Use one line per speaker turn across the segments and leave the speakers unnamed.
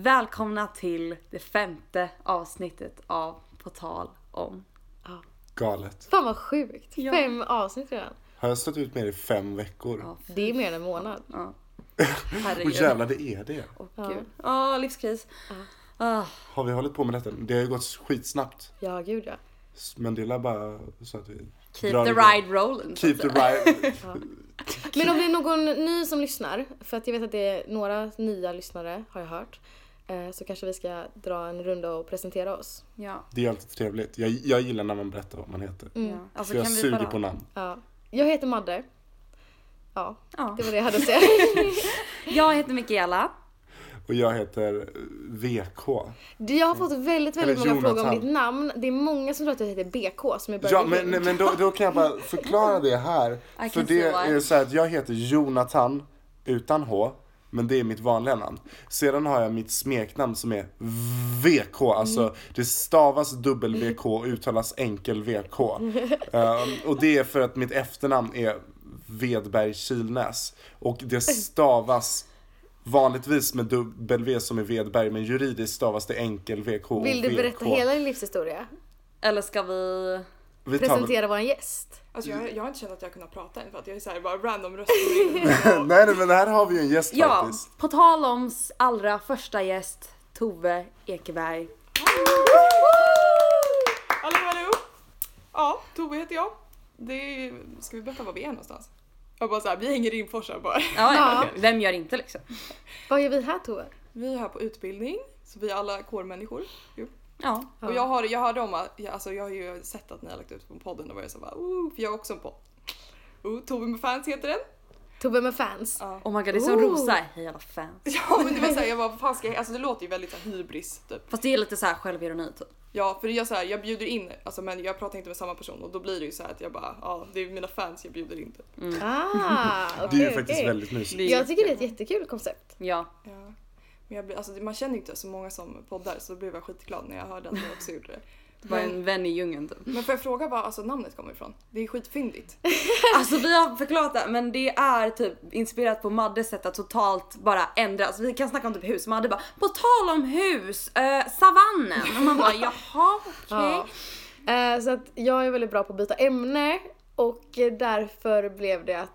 Välkomna till det femte avsnittet av På tal om.
Galet.
Fan vad sjukt.
Ja.
Fem avsnitt redan.
Har jag stått ut med det i fem veckor?
Ja,
Det är mer än en månad.
ja.
Och
Herregud.
jävlar, det är det.
Åh
Ja.
gud. Ja, livskris. Ah,
Har vi hållit på med detta? Det har ju gått skitsnabbt.
Ja, gud ja.
Men det är bara så att vi...
keep
drar
the
igång.
ride rolling.
Keep the ride.
Men om det är någon ny som lyssnar, för att jag vet att det är några nya lyssnare har jag hört, eh, så kanske vi ska dra en runda och presentera oss.
Ja.
Det är alltid trevligt. Jag, jag gillar när man berättar vad man heter.
Mm.
ja. Alltså,
För jag
kan vi
suger
bara...
på namn.
Ja. Jag heter Madde. Ja,
Ja.
det var det jag hade att säga.
Jag heter Mikaela.
Och jag heter eh, VK.
Du, Jag har fått väldigt, väldigt
Eller
många frågor om
Jonathan.
mitt namn. Det är många som tror att jag heter BK som är Burger
Ja,
King.
men, nej, men då, då kan jag bara förklara det här.
can
För
see
det
why.
är så här att jag heter Jonathan utan H, men det är mitt vanliga namn. Sedan har jag mitt smeknamn som är VK, alltså
Mm.
det stavas WK och uttalas enkel VK. Ehm, och det är för att mitt efternamn är Vedberg Kilnäs och det stavas vanligtvis med W som är Vedberg, men juridiskt stavas det enkel VK och
Vill du berätta
VK.
hela din livshistoria?
Eller ska vi...
Vi tar väl-
Presentera vår gäst.
Alltså jag, jag har inte känt att jag har kunnat prata än för att jag är såhär bara random röster.
Nej, nej, men här har vi ju en gäst
Ja,
faktiskt.
på tal om s- allra första gäst, Tove Ekeberg.
Hallå hallå! Ja, Tove heter jag. Det är, ska vi berätta var vi är någonstans? Jag bara såhär, vi hänger i Rimforsa bara.
Ja, ja.
Ja.
Vem gör inte liksom?
Vad gör vi här Tove?
Vi är här på utbildning, så vi är alla kårmänniskor. Jo.
Ja.
Ja.
Och jag, har, jag hörde om att, jag, alltså jag har ju sett att ni har lagt ut på podden, då var jag så bara oh, för jag har också en podd. Oh, Tove med fans heter den.
Tove med fans.
Ja.
Oh my god, det är som
Ooh.
Rosa. Hej alla fans.
Ja men det var såhär, jag bara vad fan ska jag, alltså det låter ju väldigt så här, hybris typ.
Fast det är lite så här självironi typ.
Ja, för jag, så här, jag bjuder in, alltså, men jag pratar inte med samma person och då blir det ju så här att jag bara, ja det är mina fans jag bjuder in. Typ.
Ah,
Det är ju
okej,
faktiskt
okej.
väldigt mysigt.
Jag tycker det är ett jättekul koncept.
Ja.
Ja. Men jag blir, alltså, det- man känner ju inte så många som poddar så då blev jag skitglad när jag hörde att jag också gjorde det.
Det var en vän i djungeln typ.
Men får jag fråga var alltså, namnet kommer ifrån? Det är skitfyndigt.
Alltså vi har förklarat det men det är typ inspirerat på Maddes sätt att totalt bara ändra. Alltså, vi kan snacka om typ hus, Madde bara på tal om hus, eh, savannen. Och man bara jaha okej.
Ja. Eh, Så att jag är väldigt bra på att byta ämne och eh, därför blev det att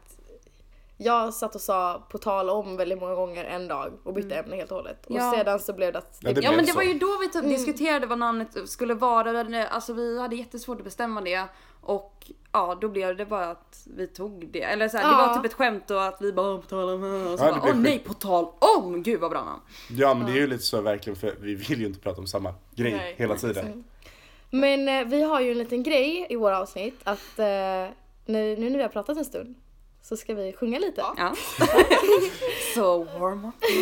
jag satt och sa på tal om väldigt många gånger en dag och bytte
Mm.
ämne helt och hållet. Och
Ja.
sedan så blev det att...
Ja, det-
Ja men
blev
det
så.
var ju då vi
Mm.
typ diskuterade vad namnet skulle vara. men, eh, Alltså vi hade jättesvårt att bestämma det. Och ja då blev det bara att vi tog det. Eller så här, det
Ja.
var typ ett skämt och att vi bara "Åh, på tal om... eh", Och så bara,
Ja, det blev
åh
skit.
nej på tal om! Gud vad bra namn.
Ja, men det är ju lite så verkligen för vi vill ju inte prata om samma grej
Nej.
hela tiden.
Men eh, vi har ju en liten grej i våra avsnitt att eh, nu, nu när vi har pratat en stund så ska vi sjunga lite.
Ja.
Ja. Så warm up.
Okej,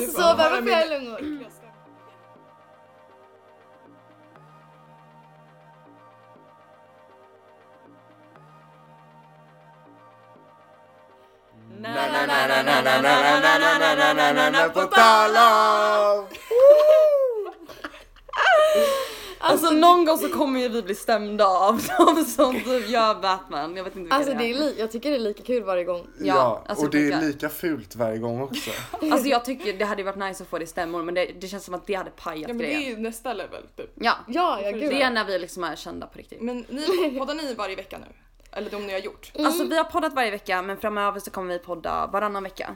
nu får
Så
jag höra
behöver
mina-
fler lungor.
På tal om!
Alltså någon gång så kommer ju vi bli stämda av de som typ gör Batman. Jag vet inte vilka
Alltså
det
det är li- jag tycker det är lika kul varje gång.
Ja,
alltså
och det är
jag-
lika fult varje gång också.
Alltså jag tycker det hade ju varit nice att få det i stämmor men det, det känns som att det hade pajat
Ja men det är
grejen.
ju nästa level typ.
Ja,
Ja, ja gud.
det är när vi liksom är kända på riktigt.
Men ni, poddar ni varje vecka nu? Eller de ni har gjort?
Alltså vi har poddat varje vecka men framöver så kommer vi podda varannan vecka.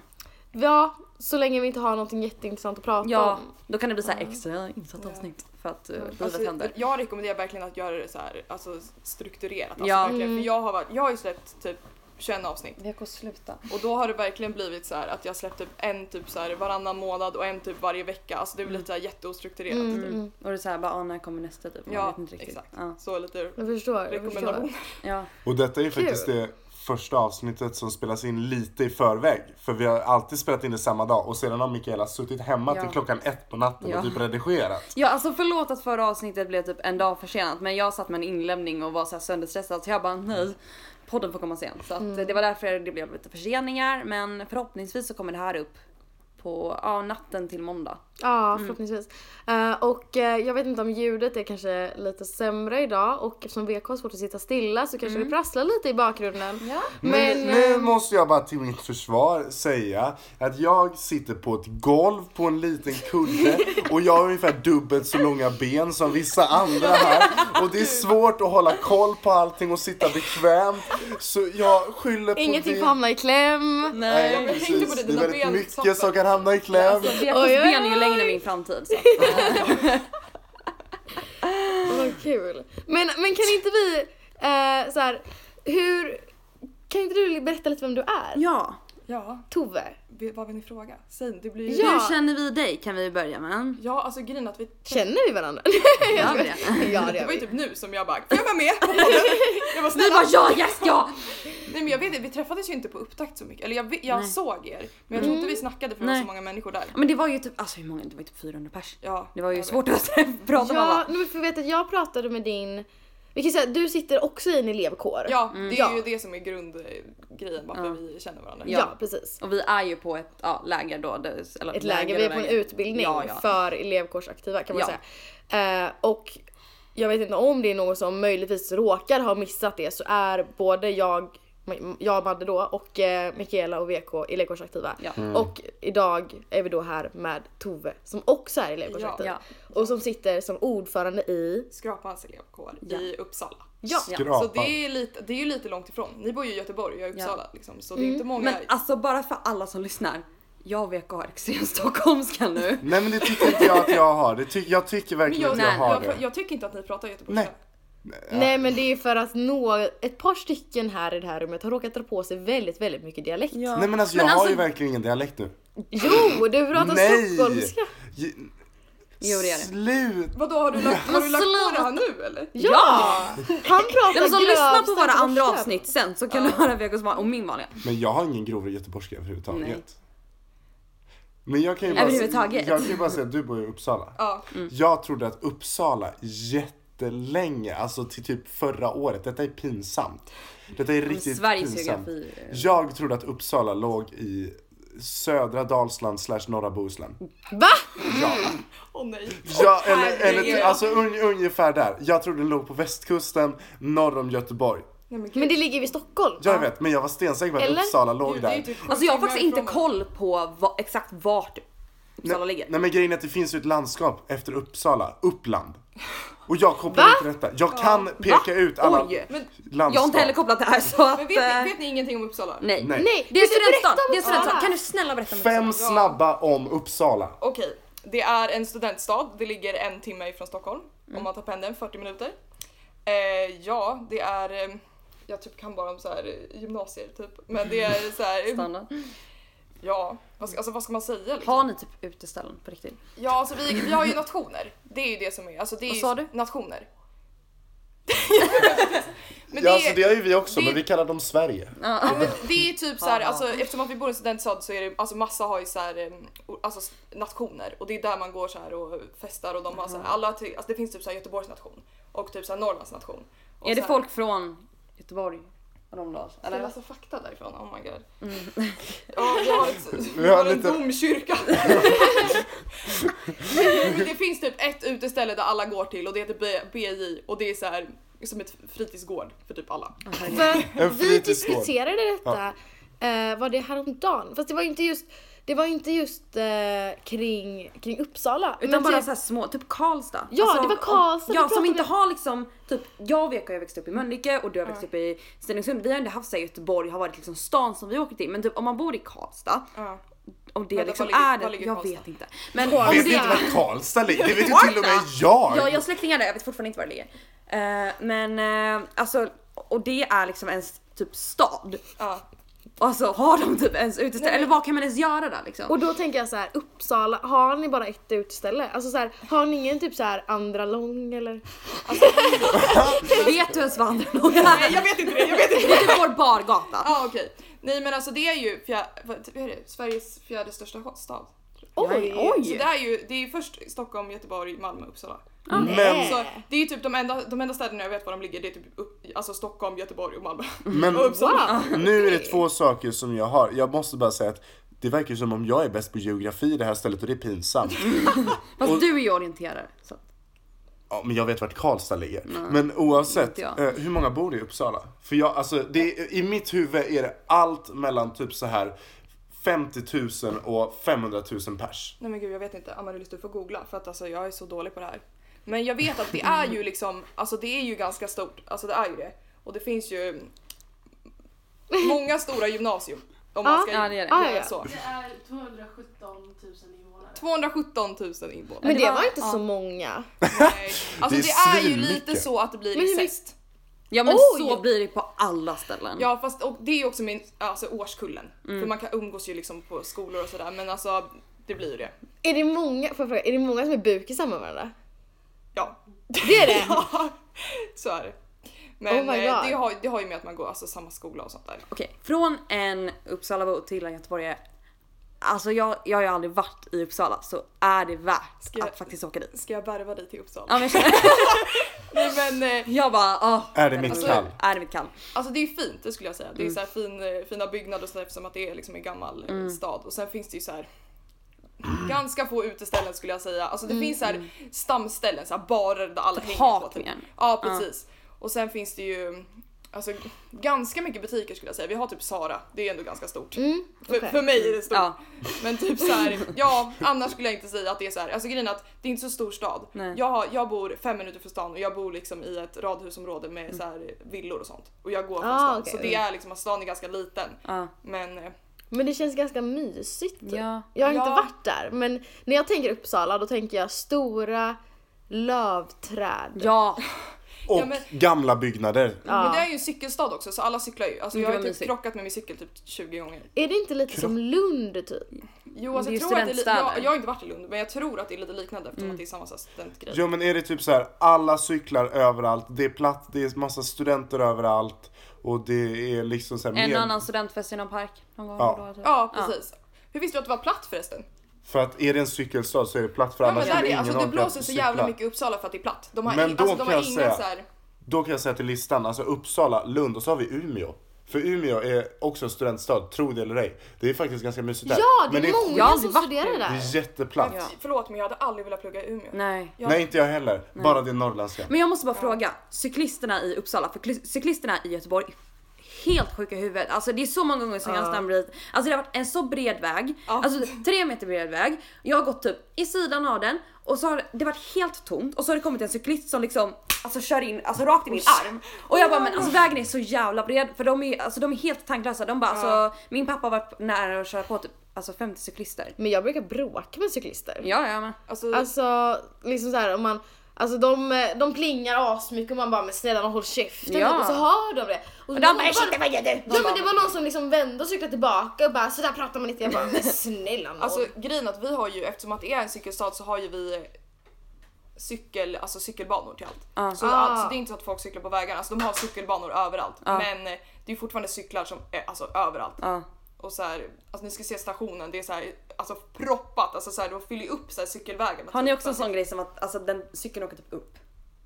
Ja, så länge vi inte har någonting jätteintressant att prata
Ja,
om.
då kan det bli så här extra insatt avsnitt för att uh, livet
Alltså,
händer.
jag rekommenderar verkligen att göra det så här, alltså strukturerat. Alltså,
Ja.
verkligen. För jag, har varit, jag har ju släppt typ 21 avsnitt
Vi kommer sluta.
och då har det verkligen blivit så här att jag släppt typ en typ så här varannan månad och en typ varje vecka. Alltså det blir lite så här jätteostrukturerat.
Mm,
Typ.
mm.
Och det är såhär bara ah, när kommer nästa typ? Man
Ja,
vet inte riktigt.
exakt.
Ja.
Så lite
Jag förstår. Jag förstår.
rekommendation.
ja.
Och detta är ju faktiskt det första avsnittet som spelas in lite i förväg. För vi har alltid spelat in det samma dag och sedan har Mikaela suttit hemma
Ja.
till klockan ett på natten
Ja.
och typ redigerat.
Ja alltså förlåt att förra avsnittet blev typ en dag försenat men jag satt med en inlämning och var så här sönderstressad så jag bara nej
Mm.
podden får komma sen. Så att eh, det var därför det blev lite förseningar men förhoppningsvis så kommer det här upp på ja, natten till måndag.
Ja, förhoppningsvis. Eh, och eh, jag vet inte om ljudet är kanske lite sämre idag och eftersom VK har svårt att sitta stilla så kanske det prasslar lite i bakgrunden. Men,
nu, nu
eh,
måste jag bara till mitt försvar säga att jag sitter på ett golv på en liten kudde och jag har ungefär dubbelt så långa ben som vissa andra här. Och det är svårt att hålla koll på allting och sitta bekvämt. Så jag skyller på
Ingenting
det.
får hamna i kläm.
Nej,
Jag tänkte på
precis.
det,
Det är
dina
väldigt
ben
mycket
satt
som kan hamna i kläm.
Vekos
Oj, oj,
ben är ju
oj.
längre än min framtid. Så. att-
Vad kul. Men, men kan inte vi, eh, så här, hur, kan inte du berätta lite vem du är?
Ja.
Ja,
Tove.
vi- vad vill ni fråga? Säg, det blir
Ja.
Hur känner vi dig kan vi börja med?
ja alltså grejen är att vi...
Känner vi varandra?
Gör vi det?
ja det
Det
gör
var
vi.
ju typ nu som jag bara, får jag vara med på podden? Jag var
Vi
snälla.
bara ja, yes, ja!
Nej men jag vet inte, vi träffades ju inte på upptakt så mycket. Eller jag, vet- jag
Nej. Mm.
såg er, men jag tror inte vi snackade för det var
Nej.
så många människor där.
Men det var ju typ, alltså hur många, det var ju typ 400 pers.
Ja,
Det var ju
jag vet.
svårt att prata med
Ja,
alla.
nej, men för jag vet att jag pratade med din, vi kan säga att du sitter också i en elevkår.
Ja, det är
Ja.
ju det som är grundgrejen varför
Mm. Ja.
vi känner varandra.
Ja,
Ja.
precis.
Och vi är ju på ett ja, läger då. det- Eller,
Ett läger, vi är på en utbildning
Ja, ja.
för elevkårsaktiva kan man
Ja.
säga. Eh, och jag vet inte om det är någon som möjligtvis råkar ha missat det så är både jag, jag Madde då och eh, Mikaela och VK elevkårsaktiva.
Ja.
Och idag är vi då här med Tove som också är elevkårsaktiv.
Ja.
Och som sitter som ordförande i...
Skrapans elevkår
Ja.
i Uppsala.
Ja.
Skrapan.
Så det är, lite, det är ju lite långt ifrån. Ni bor ju i Göteborg, jag är i Uppsala liksom. Så det är inte många.
Men alltså bara för alla som lyssnar. Jag och VK har extrem stockholmska nu.
Nej men det tycker inte jag att jag har. Det ty- jag tycker
Men
verkligen
jag,
att jag
nej,
har
jag,
det.
jag, tycker inte att ni pratar göteborgska.
Nej.
Nej men det är för att nå ett par stycken här i det här rummet har råkat dra på sig väldigt, väldigt mycket dialekt.
Nej men alltså jag
Men
har ju
alltså-
verkligen ingen dialekt nu.
Jo, du pratar
Nej!
stockholmska.
Ge-
Jo, det är det.
Slut!
Vadå har du lagt, har
Men
du lagt på
sluta.
det här nu eller?
Ja! Han pratar
Den som lyssnar alltså, på
grövst
våra andra
göteborgska.
avsnitt sen så kan du höra Vegos van- och min vanliga.
Men jag har ingen grov göteborgska överhuvudtaget.
Nej.
Men jag kan, ju bara,
Överhuvudtaget.
jag kan ju bara säga att du bor i Uppsala.
Ja.
Jag trodde att Uppsala jättelänge, alltså till typ förra året, detta är pinsamt. Detta är riktigt
Sveriges
pinsamt.
geografi. eh,
Jag trodde att Uppsala låg i södra Dalsland slash norra Bohuslän.
Va?
Ja,
Åh nej.
ja eller,
herregud.
eller alltså un, ungefär där. Jag trodde den låg på västkusten, norr om Göteborg.
nej men gud.
Men det ligger vid Stockholm.
Jag vet, men jag var stensäker på att
Eller?
Uppsala låg
Gud,
där.
det är ju typ sju
Alltså jag har
timmar
faktiskt inte
ifrån
koll på va- exakt vart Uppsala ligger.
Nej men grejen är att det finns ju ett landskap efter Uppsala, Uppland. Och jag kopplar
Va?
inte detta. Jag kan peka ut alla
Oj!
Men,
landskap.
Jag har inte heller kopplat det här så att...
men vet, ni,
eh,
vet ni ingenting om Uppsala?
Nej.
Nej.
Nej,
Det är
men du
studentstad,
berättar om
det är studentstad.
Uppsala.
Kan du snälla berätta om Uppsala?
Fem snabba om Uppsala.
Okej, det är en studentstad. Det ligger en timme ifrån Stockholm.
Mm.
Om man tar pendeln, 40 minuter. Eh, ja, det är... eh, Jag typ kan bara om så här eh, gymnasier typ. Men det är så här... eh,
Standard.
Ja, vad ska, alltså, vad ska man säga liksom?
Har ni typ uteställen på riktigt?
Ja, alltså vi, vi har ju nationer. Det är ju det som är... Alltså, det är
Vad
ju
sa du?
Nationer. men det,
Ja, alltså
är,
det har ju vi också,
det-
men vi kallar dem Sverige.
ja, men det är typ så här,
Ja.
alltså, eftersom att vi bor i en studentstad så är det, alltså massa har ju så här, em, o- alltså s- nationer och det är där man går så här och festar och de har så här, alla, ty- alltså det finns typ så här Göteborgs nation och typ så här Norrlands nation. Och
Är
så
det
här-
folk från Göteborg? Rondal?
Det är
Eller?
alltså fakta därifrån, oh my god.
Mm.
Ja, vi har, ett, vi
har
har en
lite-
domkyrka. Men det finns typ ett uteställe där alla går till och det heter B- BJ och det är så här som ett fritidsgård för typ alla.
För
En
vi
fritidsgård.
diskuterade detta, eh, var det häromdagen? Fast det var ju inte just, det var ju inte just eh, kring, kring Uppsala.
Utan
men
bara
typ-
så här små, typ Karlstad.
Ja, det var Karlstad vi
Ja, som
pratade
inte
om.
har liksom, typ jag och Veka har ju växt upp i Mölnlycke och du har växt upp i Stenungsund. Vi har inte haft såhär Göteborg har varit liksom stan som vi åker till. Men typ om man bor i Karlstad
Ja.
och det
Vänta,
liksom
var ligger-
är
var
det,
ligger
jag
Karlstad?
vet inte. Men
Karlstad.
om
Vet
Alltså,
ni
det
inte
det-
var Karlstad ligger? Det vet ju till och med jag!
Ja, jag har släktingar där, jag vet fortfarande inte var det ligger. Eh, men eh, alltså, och det är liksom ens typ stad.
Ja.
Alltså har de typ ens uteställe?
men-
Eller vad kan man ens göra där liksom?
Och då tänker jag så här, Uppsala, har ni bara ett uteställe? Alltså så här, har ni ingen typ så här andra lång eller?
vet du ens vad andra någon är?
Nej jag vet inte det, jag vet inte.
Det är typ vår bargata.
Ja ah, okej. Nej men alltså det är ju fjär, vad typ, vad är det? Sveriges fjärde största stad.
Oj!
Så
oj!
det är ju, det är ju först Stockholm, Göteborg, Malmö, Uppsala.
Men,
Så
Äh.
det är ju typ de enda, de enda städerna jag vet var de ligger, det är typ upp, alltså
Mm.
Stockholm, Göteborg och Malmö.
men
Och Uppsala.
nu är det två saker som jag har. Jag måste bara säga att det verkar ju som om jag är bäst på geografi i det här stället och det är pinsamt.
Fast
Och-
du är ju orienterare. Så. att-
Ja, men jag vet vart Karlstad ligger. Men oavsett,
inte jag.
eh, hur många bor i Uppsala? För jag, alltså, det är, i mitt huvud är det allt mellan typ så här 50 000 och 500 000 pers.
Nej men gud jag vet inte, Amaryllis du får googla för att alltså jag är så dålig på det här. Men jag vet att det är ju liksom, alltså det är ju ganska stort, alltså det är ju det. Och det finns ju många stora gymnasium. Om man
Ja,
ska
ja, det är det.
göra
Ja, ja, ja.
så.
Det är 217 000 invånare.
217 000 invånare.
Men det
var-
var inte
ja.
så många.
Nej. Alltså
Det
det
är
är, ju
svinmycket.
lite så att det blir
Men hur mycket-
incest.
Ja men
Oj!
så blir det på alla ställen.
Ja fast och det är ju också min, alltså årskullen. För man kan umgås ju liksom på skolor och sådär men alltså det blir ju det.
Är det många, får jag fråga, är det många som är bukisar med varandra?
Ja.
Det är det?
Ja, så är det. Men
Oh my
eh,
God.
det, har, det har ju med att man går alltså samma skola och sånt där.
Okej, från en Uppsalabo till en göteborgare. Alltså jag, jag har ju aldrig varit i Uppsala så är det värt
Ska jag-
att faktiskt åka dit.
Ska jag värva dig till Uppsala?
Ja, men jag, känner-
Nej men eh,
jag bara, åh,
Är det mitt
Alltså-
kall?
är det mitt kall?
alltså det är ju fint det skulle jag säga. Det är så här fin, eh, fina byggnader och så där, eftersom att det är liksom en gammal eh, stad. Och sen finns det ju så här ganska få uteställen skulle jag säga. Alltså det finns så här stamställen, så här barer där alla
Typ
hänger på. Typ.
Hakningen.
Ja precis. Och sen finns det ju Alltså ganska mycket butiker skulle jag säga. Vi har typ Sara, det är ändå ganska stort. för,
okej.
för mig är det stort.
Ja.
Men typ så här, ja annars skulle jag inte säga att det är så här. Alltså grejen är att det är inte så stor stad.
Nej.
Jag, har, jag bor fem minuter från stan och jag bor liksom i ett radhusområde med
Mm.
så här villor och sånt. Och jag går från
Ah,
stan.
okej.
Så det är liksom att stan är ganska liten.
Ja.
Men eh,
Men det känns ganska mysigt.
Ja.
Jag har
Ja.
inte varit där men när jag tänker Uppsala då tänker jag stora lövträd.
Ja,
Och
Ja, men-
gamla byggnader.
Ja.
men det är ju en cykelstad också så alla cyklar ju. Alltså
Gud,
jag har
vad
ju typ
mysigt.
krockat med min cykel typ 20 gånger.
Är det inte lite som Lund typ?
Jo alltså
det är
jag
ju Mm.
tror att det är lite,
studentstäder.
jag, jag har inte varit i Lund men jag tror att det är lite liknande eftersom att det är samma så här studentgrej.
Jo men är det typ så här, alla cyklar överallt, det är platt, det är massa studenter överallt och det är liksom så här,
en
mer-
och annan studentfest i någon park någon gång
Ja.
då, typ.
Ja precis. Hur visste du att det var platt förresten?
För att är det en cykelstad så är det platt för
Ja,
annars
men där
skulle
är,
ingen
alltså,
orka
det blåser så jävla
cykla.
mycket i Uppsala för att det är platt. De har,
Men
in,
då
alltså, de
kan
har
jag
inga
säga-
så här,
Då kan jag säga till listan, alltså Uppsala, Lund och så har vi Umeå. För Umeå är också en studentstad, tro det eller ej. Det är faktiskt ganska mysigt där.
Ja, det
men
är många
Jag har aldrig
som
varit
studerar
Det
där.
är jätteplatt.
Förlåt men jag hade aldrig velat plugga i Umeå.
Nej.
Ja.
Nej, inte jag heller. Bara det är norrländska.
Men jag måste bara fråga, cyklisterna i Uppsala, för cykli- cyklisterna i Göteborg Helt sjuka i huvudet. Alltså det är så många gånger som jag har stannat dit. Alltså det har varit en så bred väg.
Ja.
Alltså tre meter bred väg. Jag har gått typ i sidan av den och så har det varit helt tomt och så har det kommit en cyklist som liksom alltså kör in alltså rakt i min arm. Och jag bara men alltså vägen är så jävla bred för de är, alltså, de är helt tanklösa. De bara alltså min pappa har varit nära att köra på typ alltså 50 cyklister.
Men jag brukar bråka med cyklister.
Ja ja men.
Alltså,
Alltså liksom så här om man Alltså de, eh, de plingar asmycket och man bara men snälla håll käften
Ja.
typ, och så hör de det. Och,
De
någon
bara shit vad gör du?
Nej men det var någon som liksom vände och cyklade tillbaka och bara sådär pratar man inte. Jag bara men snälla någon.
alltså grejen är att vi har ju, eftersom att det är en cykelstad så har ju vi eh, cykel, alltså cykelbanor till allt.
Ja.
Så
Ah.
alltså, det är inte så att folk cyklar på vägarna, alltså, de har cykelbanor överallt.
Ja.
Men eh, det är fortfarande cyklar som är alltså, överallt.
Ja.
Och så här, alltså, ni ska se stationen, det är så här, alltså, proppat, alltså, så här, de fyller ju upp så här, cykelvägen. med
Har ni
typ
också en sån grej som att alltså den cykeln åker typ upp?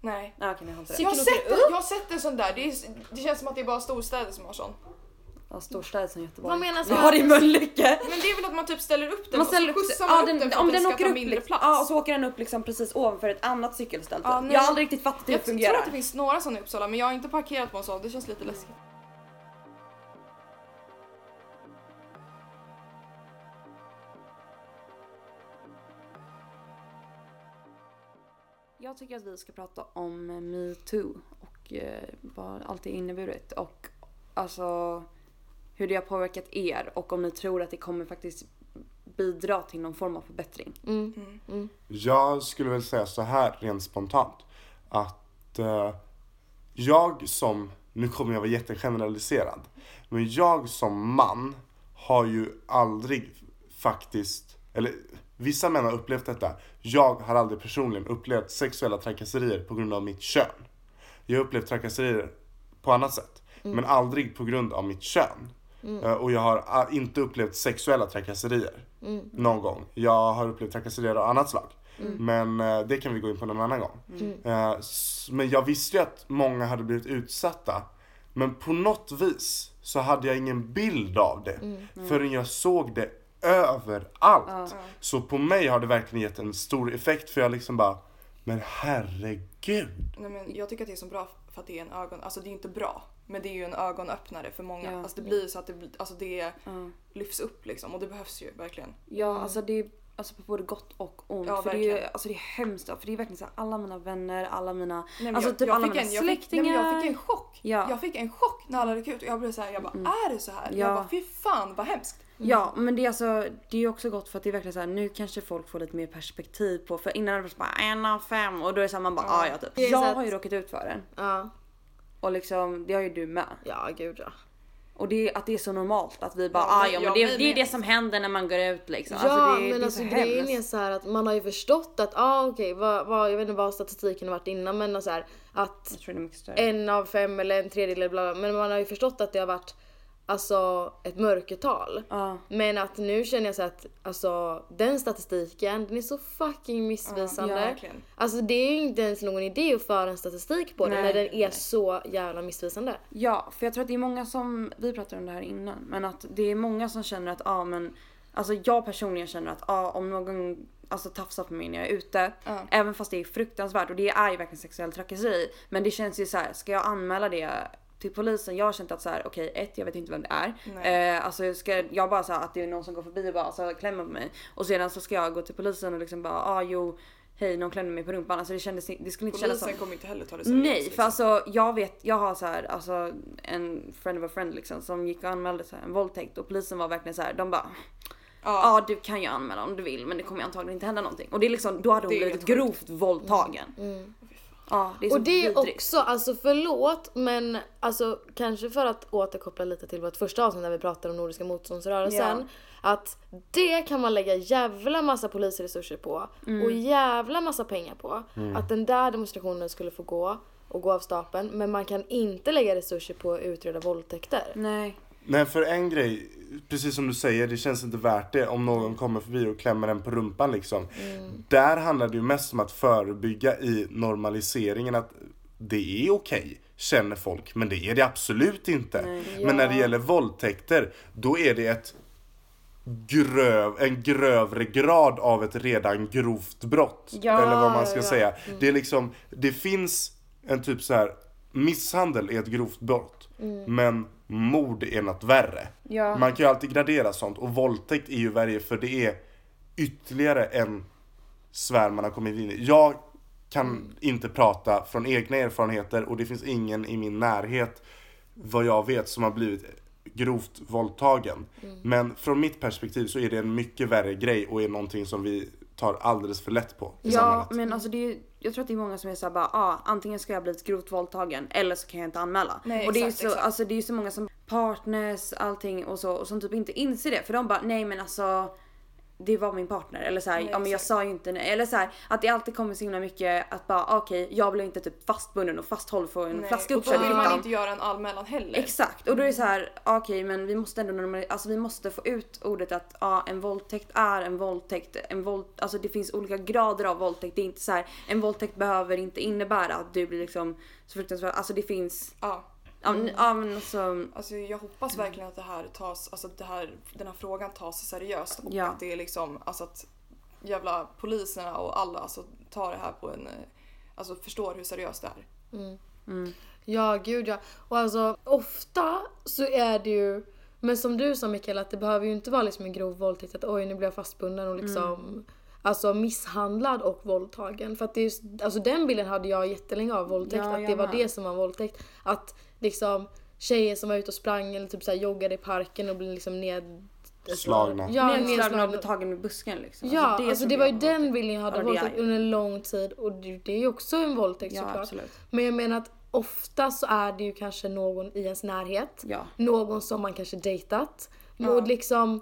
Nej.
Nej okej ni har inte det.
Jag har,
Cykeln åker
sett, en- jag har sett en sån där, det, är, det känns som att det är bara storstäder som har sån.
Ja, storstäder som Göteborg.
Vad menas
Vi
med-
har det i Mölnlycke.
Men det är väl att man typ ställer upp den
Man ställer
och så
upp,
skjutsar
ja,
man upp den för
om
att
den
den ska
åker
ta
upp
mindre
liksom,
plats.
ja, och så åker den upp liksom precis ovanför ett annat cykelställ. typ.
Ja, nej.
jag har aldrig riktigt fattat hur
jag
det
tror
fungerar.
att det finns några sådana i Uppsala men jag har inte parkerat på en sån, det känns lite läskigt.
Jag tycker att vi ska prata om eh, metoo och eh, vad allt det inneburit och alltså hur det har påverkat er och om ni tror att det kommer faktiskt bidra till någon form av förbättring.
Jag skulle väl säga så här rent spontant. Att eh, jag som, nu kommer jag vara jättegeneraliserad. Men jag som man har ju aldrig faktiskt, eller vissa män har upplevt detta. Jag har aldrig personligen upplevt sexuella trakasserier på grund av mitt kön. Jag har upplevt trakasserier på annat sätt. Men aldrig på grund av mitt kön. Eh, Och jag har a- inte upplevt sexuella trakasserier. Någon gång. Jag har upplevt trakasserier av annat slag. Men eh, det kan vi gå in på någon annan gång. Eh, s- Men jag visste ju att många hade blivit utsatta. Men på något vis så hade jag ingen bild av det. Förrän jag såg det överallt. Så på mig har det verkligen gett en stor effekt för jag liksom bara, men herregud.
Nej, men jag tycker att det är så bra för att det är en ögon... Alltså det är inte bra. Men det är ju en ögonöppnare för många.
Ja.
Alltså det blir så att det, blir- alltså det lyfts upp liksom och det behövs ju verkligen.
Ja, alltså det är alltså på både gott och ont.
Ja,
för det är, ju-
verkligen.
alltså det är hemskt. För det är verkligen så här, alla mina vänner, alla mina,
Nej, men
alltså
jag,
typ
jag
alla
fick
mina
en, jag fick, nej,
släktingar.
men jag fick en chock.
Ja. Mm.
Jag fick en chock när alla gick ut och jag blev så här, jag bara är det så här?
Ja.
Jag bara fy fan vad hemskt.
Ja, men det är alltså, det är ju också gott för att det är verkligen så här, nu kanske folk får lite mer perspektiv på, för innan var det bara en av fem och då är det så här, man bara, ja ja typ.
Det är så
Jag
att-
har ju råkat ut för den
Ja,
och liksom det har ju du med.
ja gud ja.
Och det är att det är så normalt att vi bara,
Ja,
ja
men-
ja
ja,
men det,
vi
det är
med.
det som händer när man går ut liksom.
Ja
alltså, det,
men
det är
alltså
så
grejen är
hemskt.
så här att man har ju förstått att ah, okej vad, vad, jag vet inte vad statistiken har varit innan men så här, att
Jag tror det är mycket större.
Eh,
en av fem eller en tredjedel eller bla, bla men man har ju förstått att det har varit alltså ett mörkertal.
Ja.
Men att nu känner jag så att alltså den statistiken den är så fucking missvisande.
Ja, verkligen.
alltså det är ju inte ens någon idé att föra en statistik på det
Nej,
när den är så jävla missvisande.
Ja, för jag tror att det är många som, vi pratade om det här innan, men att det är många som känner att ja men, alltså jag personligen känner att ja om någon alltså, tafsar på mig när jag är ute, även fast det är fruktansvärt och det är ju verkligen sexuell trakasseri, men det känns ju så här, ska jag anmäla det till polisen? Jag har känt att så här, okej ett, jag vet inte vem det är. Eh, alltså ska jag bara säga att det är någon som går förbi och bara alltså, klämmer på mig och sedan så ska jag gå till polisen och liksom bara ah, jo, hej någon klämde mig på rumpan. Alltså det kändes, det skulle inte kännas som
Polisen kommer inte heller ta det
Nej, för
liksom.
alltså jag vet, jag har så här, alltså en friend of a friend liksom som gick och anmälde så här, en våldtäkt och polisen var verkligen så här, de bara Ja
ja.
du kan ju anmäla om du vill men det kommer ju antagligen inte hända någonting. Och det är liksom, då hade hon
Det är
blivit
helt
grovt våldtagen. Ja det är så
Och det är
liksom vidrigt.
också, alltså förlåt men alltså kanske för att återkoppla lite till vårt första avsnitt när vi pratade om Nordiska motståndsrörelsen. Att det kan man lägga jävla massa polisresurser på och jävla massa pengar på. Att den där demonstrationen skulle få gå och gå av stapeln men man kan inte lägga resurser på att utreda våldtäkter.
Nej.
Nej, för en grej, precis som du säger, det känns inte värt det om någon kommer förbi och klämmer en på rumpan liksom. Där handlar det ju mest om att förebygga i normaliseringen att det är okej, känner folk, men det är det absolut inte. Men när det gäller våldtäkter, då är det ett gröv, en grövre grad av ett redan grovt brott.
Ja,
eller vad man ska
ja, ja.
säga. Det är liksom, det finns en typ så här misshandel är ett grovt brott. Men mord är något värre.
Ja.
Man kan ju alltid gradera sånt och våldtäkt är ju värre för det är ytterligare en sfär man har kommit in i. Jag kan inte prata från egna erfarenheter och det finns ingen i min närhet vad jag vet som har blivit grovt våldtagen. Men från mitt perspektiv så är det en mycket värre grej och är någonting som vi tar alldeles för lätt på i
Ja
samhället.
men alltså det är ju, jag tror att det är många som är såhär bara ah, antingen ska jag ha blivit grovt våldtagen eller så kan jag inte anmäla.
Nej,
och det är ju
exakt,
så,
exakt.
alltså det är ju så många som partners, allting och så och som typ inte inser det för de bara nej men alltså det var min partner eller så här,
Nej,
ja men jag
exakt.
sa ju inte nej. Eller så här, att det alltid kommer så himla mycket att bara ah, okej jag blev inte typ fastbunden och fasthållen för en
Nej,
flaska
och då
uppkörd i
vill man
fittan.
inte göra en anmälan heller.
Exakt och då är det så här "Ah, okej men vi måste ändå normali- alltså vi måste få ut ordet att ja en våldtäkt är en våldtäkt. En våld, alltså det finns olika grader av våldtäkt. Det är inte så här en våldtäkt behöver inte innebära att du blir liksom så fruktansvärt, alltså det finns
Ja.
ja, men- ja men alltså
Alltså jag hoppas verkligen att det här tas, alltså att det här, den här frågan tas seriöst och
Ja.
att det är liksom, alltså att jävla poliserna och alla alltså tar det här på en, eh, alltså förstår hur seriöst det är.
Ja, gud ja. Och alltså ofta så är det ju, men som du sa Mikael, att det behöver ju inte vara liksom en grov våldtäkt att oj nu blev jag fastbunden och liksom
Mm.
Alltså misshandlad och våldtagen. För att det är just, alltså den bilden hade jag jättelänge av våldtäkt,
Ja,
att
jag
det var
med.
det som var våldtäkt. Att liksom tjejer som var ute och sprang eller typ så här joggade i parken och blev liksom ned...
Slagna.
Ja,
nedslagen
nedslagna.
och tagen med busken liksom.
Ja, alltså det,
trodde
var
jag
ju den bilden jag hade
Ja,
av
det är
våldtäkt
ju.
under lång tid och det, det är ju också en våldtäkt
Ja,
såklart.
absolut.
Men jag menar att ofta så är det ju kanske någon i ens närhet,
Ja.
någon som man kanske dejtat och liksom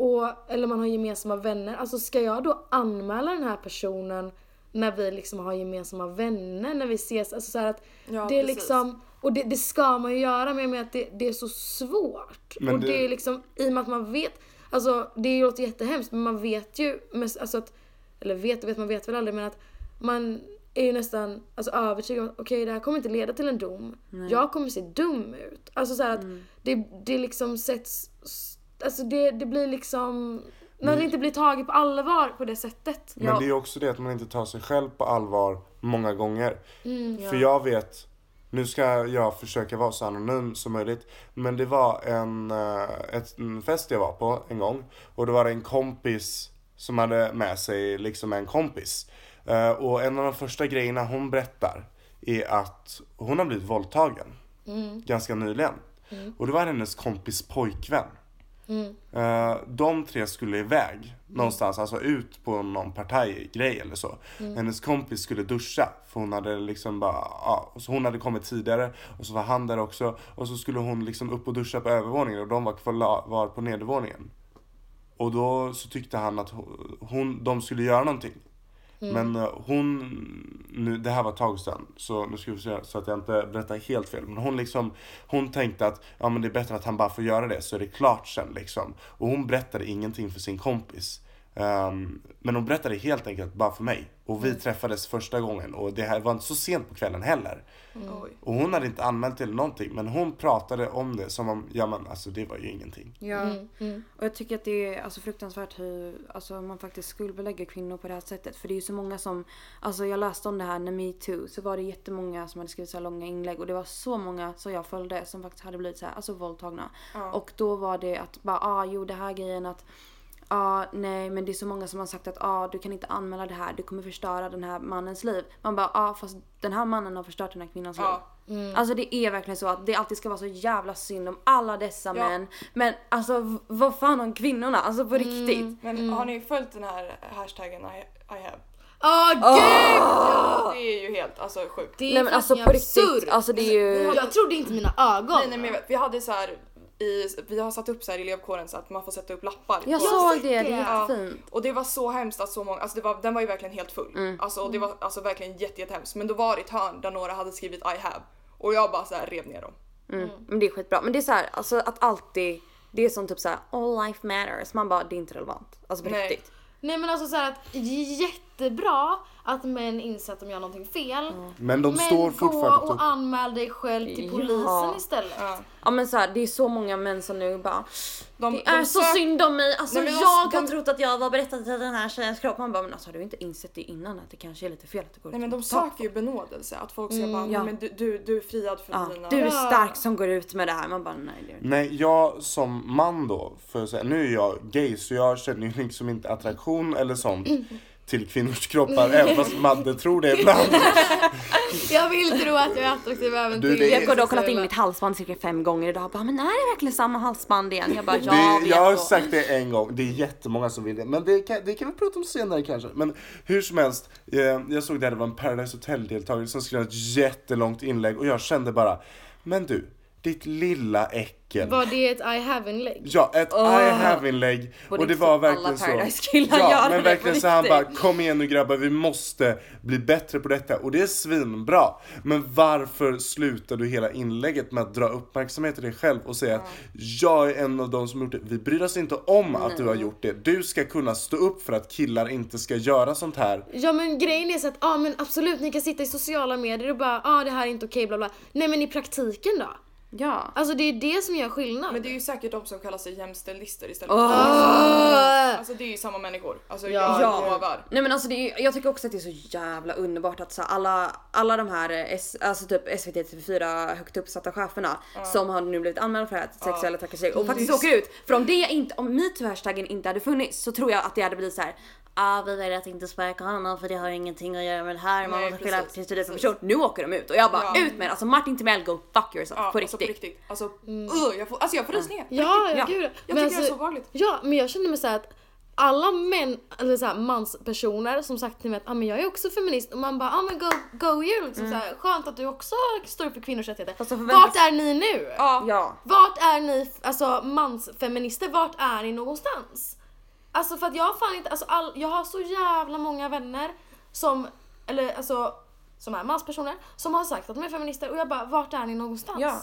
och, eller man har gemensamma vänner. Alltså ska jag då anmäla den här personen när vi liksom har gemensamma vänner, när vi ses? Alltså så här att
Ja,
det är
precis.
liksom, och det, det ska man ju göra men jag menar att det, det är så svårt.
Men
och
det-
det är liksom, i och med att man vet, alltså det låter jättehemskt men man vet ju, men alltså att, eller vet och vet, man vet väl aldrig men att man är ju nästan alltså, övertygad om att okej det här kommer inte leda till en
Mm.
dom. Jag kommer se dum ut. Alltså så här att det, det liksom sätts s- alltså det, det blir liksom, när
Mm.
det inte blir taget på allvar på det sättet.
Men det är ju också det att man inte tar sig själv på allvar många gånger.
ja.
För jag vet, nu ska jag försöka vara så anonym som möjligt. Men det var en, eh, ett, en fest jag var på en gång. Och det var en kompis som hade med sig liksom en kompis. Eh, Och en av de första grejerna hon berättar är att hon har blivit våldtagen. Ganska nyligen. Och det var hennes kompis pojkvän. Eh, de tre skulle iväg någonstans, alltså ut på någon partajgrej eller så. Hennes kompis skulle duscha för hon hade liksom bara, ja, så hon hade kommit tidigare och så var han där också och så skulle hon liksom upp och duscha på övervåningen och de var kvar var på nedervåningen. Och då så tyckte han att hon, hon, de skulle göra någonting. Men eh, hon, nu, det här var ett tag sedan, så nu ska vi se så att jag inte berättar helt fel. Men hon liksom, hon tänkte att ja, men det är bättre att han bara får göra det så är det klart sen liksom. Och hon berättade ingenting för sin kompis. Ehm, men hon berättade helt enkelt bara för mig. Och vi träffades första gången och det här var inte så sent på kvällen heller.
Mm.
Oj.
Och hon hade inte anmält eller någonting men hon pratade om det som om, ja men alltså det var ju ingenting.
Ja. Och jag tycker att det är alltså, fruktansvärt hur alltså, man faktiskt skuldbelägger kvinnor på det här sättet. För det är ju så många som, alltså jag läste om det här när metoo, så var det jättemånga som hade skrivit så här långa inlägg och det var så många som jag följde som faktiskt hade blivit så här, alltså våldtagna. Och då var det att bara, ah jo det här grejen att Ja, nej men det är så många som har sagt att ah, du kan inte anmäla det här, du kommer förstöra den här mannens liv. Man bara ja ah, fast den här mannen har förstört den här kvinnans
Ja.
liv.
Mm.
Alltså det är verkligen så att det alltid ska vara så jävla synd om alla dessa
Ja. Mm.
män. Men alltså v- vad fan om kvinnorna? Alltså på riktigt.
Men har ni följt den här hashtaggen I, I have?
Åh gud!
Ah!
Det är ju helt alltså sjukt.
Det är
Nej men alltså på riktigt, alltså det är ju...
Jag trodde inte mina ögon.
Nej, nej, men jag vet, vi hade så här i, vi har satt upp så här i elevkåren så att man får sätta upp lappar.
Jag
på-
såg det, det
Ja.
är jättefint. Mm.
Och det var så hemskt att så många, alltså det var, den var ju verkligen helt full. Alltså, och det var alltså verkligen jätte, jättehemskt. Men då var det ett hörn där några hade skrivit I have. Och jag bara så här rev ner dem.
Mm. Men det är skitbra. Men det är så här, alltså att alltid, det är som typ såhär all life matters. Man bara det är inte relevant. Alltså på
Nej.
riktigt.
Nej men alltså såhär att jättebra att män inser att de gör någonting fel.
Men de
men
står fortfarande
gå och
upp.
anmäl dig själv till
Ja.
polisen istället.
Ja.
Ja men såhär det är så många män som nu bara
De,
Det är
de
så
sök-
synd om mig, alltså
Nej, men de-
jag har
de-
trott att jag var berättad till den här tjejens kropp. Man bara men alltså har du inte insett det innan att det kanske är lite fel att det går
Nej men
ut
de
med tak?
söker ju benådelse. Att folk ska bara,
Mm, ja.
nej, men du, du, du är friad från
Ja,
dina...
du är
Ja.
stark som går ut med det här. Man bara nej det är du inte.
Nej, jag som man då, för att säga, nu är jag gay så jag känner ju liksom inte attraktion eller sånt till kvinnors kroppar, även fast Madde tror det ibland.
Jag vill tro att jag är attraktiv även
Du,
till
det är-
Jag går då och kollat in mitt halsband cirka fem gånger idag och bara men är det verkligen samma halsband igen? Jag bara ja
det,
vi
jag
är
har
så."
sagt det en gång, det är jättemånga som vill det. Men det kan, det kan vi prata om senare kanske. Men hur som helst, eh, jag såg där det var en Paradise Hotel-deltagare som skrev ett jättelångt inlägg och jag kände bara, men du, ditt lilla äckel.
Var det ett I have inlägg?
Ja, ett I have-inlägg.
Borde
Och det
inte
var
alla
verkligen så.
Paradise-killar
ja,
göra
men
det
verkligen
på
så han bara,
riktigt?
kom igen nu grabbar, vi måste bli bättre på detta. Och det är svinbra. Men varför slutar du hela inlägget med att dra uppmärksamhet till dig själv och säga att jag är en av de som gjort det. Vi bryr oss inte om att du har gjort det. Du ska kunna stå upp för att killar inte ska göra sånt här.
Ja men grejen är så att ja men absolut ni kan sitta i sociala medier och bara ja ah, det här är inte okej bla bla. Nej men i praktiken då?
Ja.
Alltså det är det som gör skillnad.
Men det är ju säkert de som kallar sig jämställdhister istället. Alltså det är ju samma människor. Alltså
Ja.
jag lovar.
Nej men alltså det är, jag tycker också att det är så jävla underbart att så här, alla, alla de här eh, S, alltså typ SVT TV4 högt uppsatta cheferna som har nu blivit anmälda för det här sexuella trakasserier och faktiskt åker ut. För om det inte, om metoo-hashtaggen inte hade funnits så tror jag att det hade blivit så här. Ah, vi väljer att inte sparka honom för det har ingenting att göra med det här. Man
Nej,
måste skilja
precis,
till för person.
precis.
Nu åker de ut och jag bara
Ja.
ut med det. Alltså Martin Timell go fuck yourself
Ja,
på
alltså
riktigt.
på
Mm.
riktigt. Alltså, ugh, jag får, alltså jag får rysningar.
Ja, ja
Ja.
gud. alltså,
Jag tycker det är så obehagligt.
Ja, men jag känner mig såhär att alla män, eller så här, manspersoner som sagt till mig att ah, men jag är också feminist och man bara ah, men go, go you liksom
Mm.
så här, skönt att du också står upp för kvinnors rättigheter.
Fast så förväntas-
Vart är ni nu?
Ja.
Ja.
Vart är ni, alltså mansfeminister, vart är ni någonstans? Alltså för att jag har fan inte, alltså all, jag har så jävla många vänner som, eller alltså som är manspersoner, som har sagt att de är feminister och jag bara vart är ni någonstans?
Ja.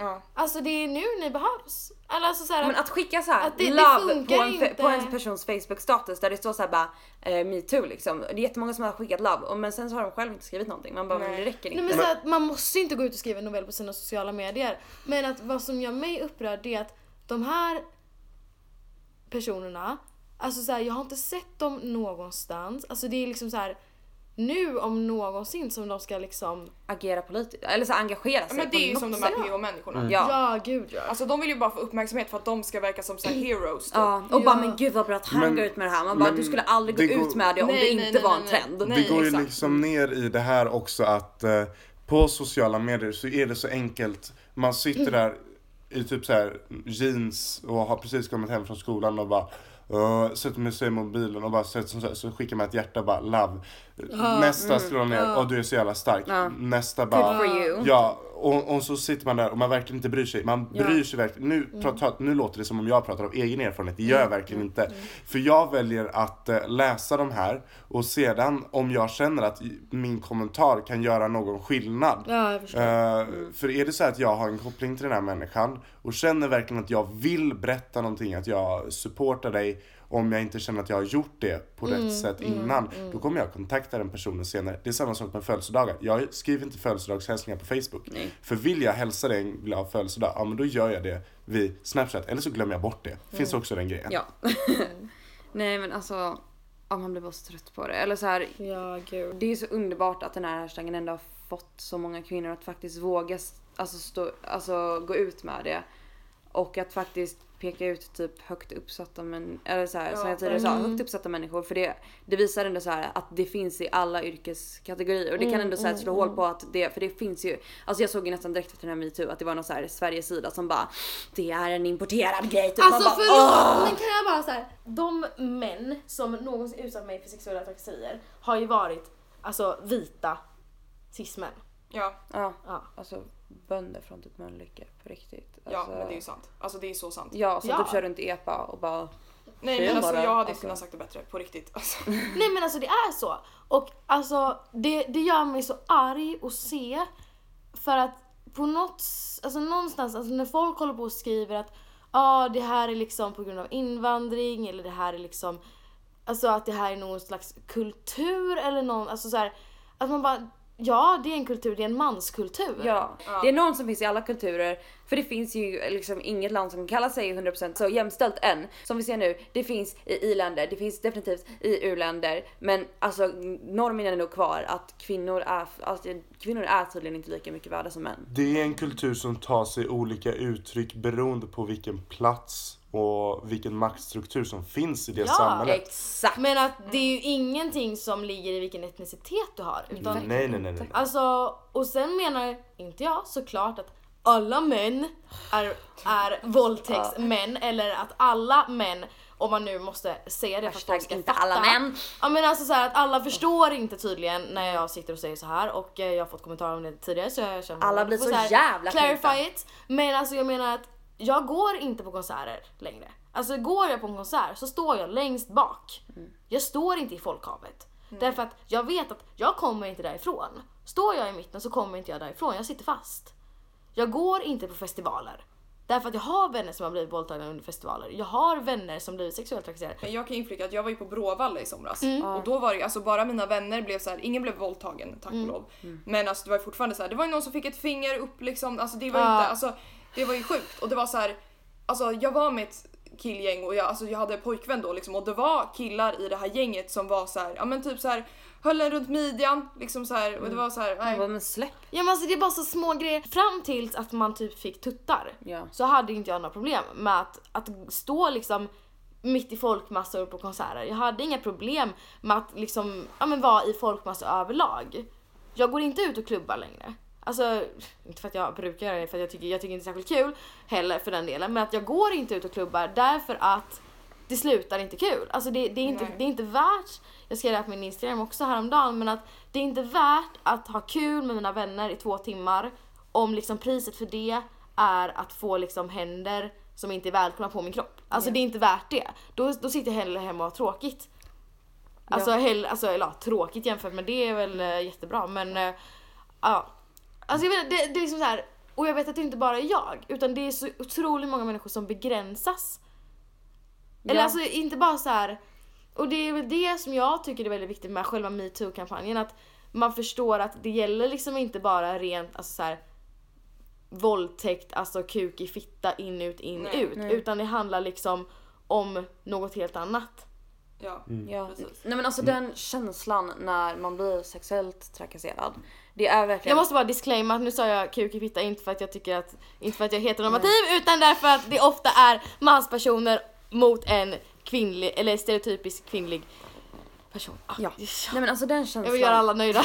Ja.
Alltså det är nu ni behövs. Eller alltså såhär
Men att skicka så här,
Att det- det
love på
funkar
en, fe-
inte.
på en persons facebook status där det står så här bara eh, metoo liksom. Det är jättemånga som har skickat love och, men sen så har de själv inte skrivit någonting. Man bara men det
Nej.
räcker inte.
Nej, men så att man måste inte gå ut och skriva en novell på sina sociala medier. Men att vad som gör mig upprörd det är att de här personerna, alltså så här, jag har inte sett dem någonstans. Alltså det är liksom så här nu om någonsin som de ska liksom...
Agera politiskt, eller så här, engagera sig
Men det
på
är ju
något
som de
sätt.
här PH-människorna.
Ja.
Ja, gud ja.
Alltså de vill ju bara få uppmärksamhet för att de ska verka som så här heroes. typ.
Mm. Ja, och
Ja.
bara men gud vad bra att han
Men-
går ut med det här. Man bara
men
du skulle aldrig gå
det går-
ut med det om
Nej,
det
nej,
inte
nej,
var en
nej, nej.
trend.
Nej.
Det går ju
exakt.
Mm.
liksom ner i det här också att eh, på sociala medier så är det så enkelt. Man sitter där i typ så här jeans och har precis kommit hem från skolan och bara eh, sätter med sig i mobilen och bara sätter som så, här, så skickar man ett hjärta bara love. Nästa slår ner, åh du är så jävla stark.
mm. Ja.
Nästa
Good
bara
for you.
Ja, och, och så sitter man där och man verkligen inte bryr sig. Man
Ja.
bryr sig verkligen. Nu, pra- ta- nu låter det som om jag pratar av egen erfarenhet. Det gör jag verkligen inte. För jag väljer att eh, läsa de här och sedan om jag känner att i- min kommentar kan göra någon skillnad.
Ja, jag förstår.
Eh, För är det så här att jag har en koppling till den här människan och känner verkligen att jag vill berätta någonting, att jag supportar dig om jag inte känner att jag har gjort det på rätt sätt innan, då kommer jag kontakta den personen senare. Det är samma sak med födelsedagar. Jag skriver inte födelsedagshälsningar på Facebook. För vill jag hälsa dig en glad födelsedag, ja men då gör jag det vid Snapchat. Eller så glömmer jag bort det. Finns också den grejen.
Ja. Nej men alltså, ja, man blir bara så trött på det. Eller så här,
Ja, gud.
det är så underbart att den här hashtaggen ändå har fått så många kvinnor att faktiskt våga s- alltså, stå, alltså, gå ut med det. Och att faktiskt peka ut typ högt uppsatta män, eller så här, som jag tidigare sa,
Mm.
högt uppsatta människor. För det, det visar ändå så här att det finns i alla yrkeskategorier. Och det
Mm,
kan ändå så här, slå hål på att det, för det finns ju, alltså jag såg ju nästan direkt efter den här metoo att det var någon så här Sveriges sida som bara Det är en importerad grej. Typ. Man
Alltså
bara,
förlåt, men kan jag bara så här. De män som någonsin utsatt mig för sexuella trakasserier har ju varit alltså vita cis-män.
Ja,
Ja.
Ja.
Alltså bönder från typ Mölnlycke på riktigt.
ja
Alltså,
men det är ju sant. Alltså det är så sant.
Ja, som
Ja.
typ kör runt epa och bara...
Nej
Det är
men alltså
bara-
jag hade
alltså-
alltså... kunnat sagt det bättre, på riktigt. Alltså.
Nej men alltså det är så. Och alltså det, det gör mig så arg att se. För att på något, s- alltså någonstans, alltså när folk håller på och skriver att ah, det här är liksom på grund av invandring eller det här är liksom, alltså att det här är någon slags kultur eller någon, alltså så här, att man bara, ja det är en kultur, det är en manskultur.
Ja. Det är någon som finns i alla kulturer. För det finns ju liksom inget land som kallar sig 100% så jämställt än. Som vi ser nu, det finns i i-länder, det finns definitivt i u-länder. Men alltså normen är nog kvar att kvinnor är, alltså, kvinnor är tydligen inte lika mycket värda som män.
Det är en kultur som tar sig olika uttryck beroende på vilken plats och vilken maktstruktur som finns i det
Ja.
samhället.
Exakt!
Men att det är ju ingenting som ligger i vilken etnicitet du har. Utan
Nej, nej, nej, nej. nej.
Alltså, och sen menar inte jag såklart att alla män är, är våldtäktsmän eller att alla män, om man nu måste säga det för att
Hashtag
folk ska
inte
fatta.
alla män.
Ja men alltså så här att alla förstår inte tydligen när jag sitter och säger så här och eh, jag har fått kommentarer om det tidigare så jag känner
Alla blir
får
så jävla
Clarify
knäckta.
it. Men alltså jag menar att jag går inte på konserter längre. Alltså går jag på en konsert så står jag längst bak.
Mm.
Jag står inte i folkhavet. Därför att jag vet att jag kommer inte därifrån. Står jag i mitten så kommer inte jag därifrån, jag sitter fast. Jag går inte på festivaler. Därför att jag har vänner som har blivit våldtagna under festivaler. Jag har vänner som blivit sexuellt trakasserade.
Men jag kan inflika att jag var ju på Bråvalla i somras
Mm.
och då var det ju alltså bara mina vänner blev så här, ingen blev våldtagen tack
Mm.
och lov. Men alltså det var ju fortfarande så här, det var ju någon som fick ett finger upp liksom, alltså det var ju
Ja.
inte, alltså det var ju sjukt och det var så här, alltså jag var med ett killgäng och jag, alltså, jag hade pojkvän då liksom och det var killar i det här gänget som var så här, ja men typ så här höll en runt midjan liksom så här
Mm.
och det var så här, nej.
Jag bara, men släpp
Ja men alltså det är bara så små grejer. Fram tills att man typ fick tuttar
Ja.
så hade inte jag några problem med att, att stå liksom mitt i folkmassor på konserter. Jag hade inga problem med att liksom, ja men vara i folkmassor överlag. Jag går inte ut och klubbar längre. Alltså, inte för att jag brukar göra det för att jag tycker, jag tycker inte det är särskilt kul heller för den delen. Men att jag går inte ut och klubbar därför att det slutar inte kul. Alltså det, det, är inte,
Nej.
det är inte värt, jag skrev det här på min Instagram också häromdagen, men att det är inte värt att ha kul med mina vänner i två timmar om liksom priset för det är att få liksom händer som inte är välkomna på min kropp. Alltså det är inte värt det. Då, då sitter jag hellre hemma och har tråkigt. Alltså, hell, alltså eller, ja, tråkigt jämfört med det är väl eh, jättebra men eh, ja. Alltså jag vet inte, det, det är liksom så här. och jag vet att det inte bara är jag utan det är så otroligt många människor som begränsas. Eller
Ja.
alltså inte bara så här. och det är väl det som jag tycker är väldigt viktigt med själva metoo-kampanjen att man förstår att det gäller liksom inte bara rent alltså så här våldtäkt, alltså kuk i fitta in ut in
Nej.
ut utan det handlar liksom om något helt annat.
Ja,
Ja.
precis.
Nej men alltså
Mm.
den känslan när man blir sexuellt trakasserad. Det är verkligen...
Jag måste bara disclaima att nu sa jag kuk i fitta inte för att jag tycker att, inte för att jag är heteronormativ utan därför att det ofta är manspersoner mot en kvinnlig, eller stereotypisk kvinnlig person. Ah,
Ja.
yes.
Nej men alltså den känslan.
Jag vill göra alla nöjda.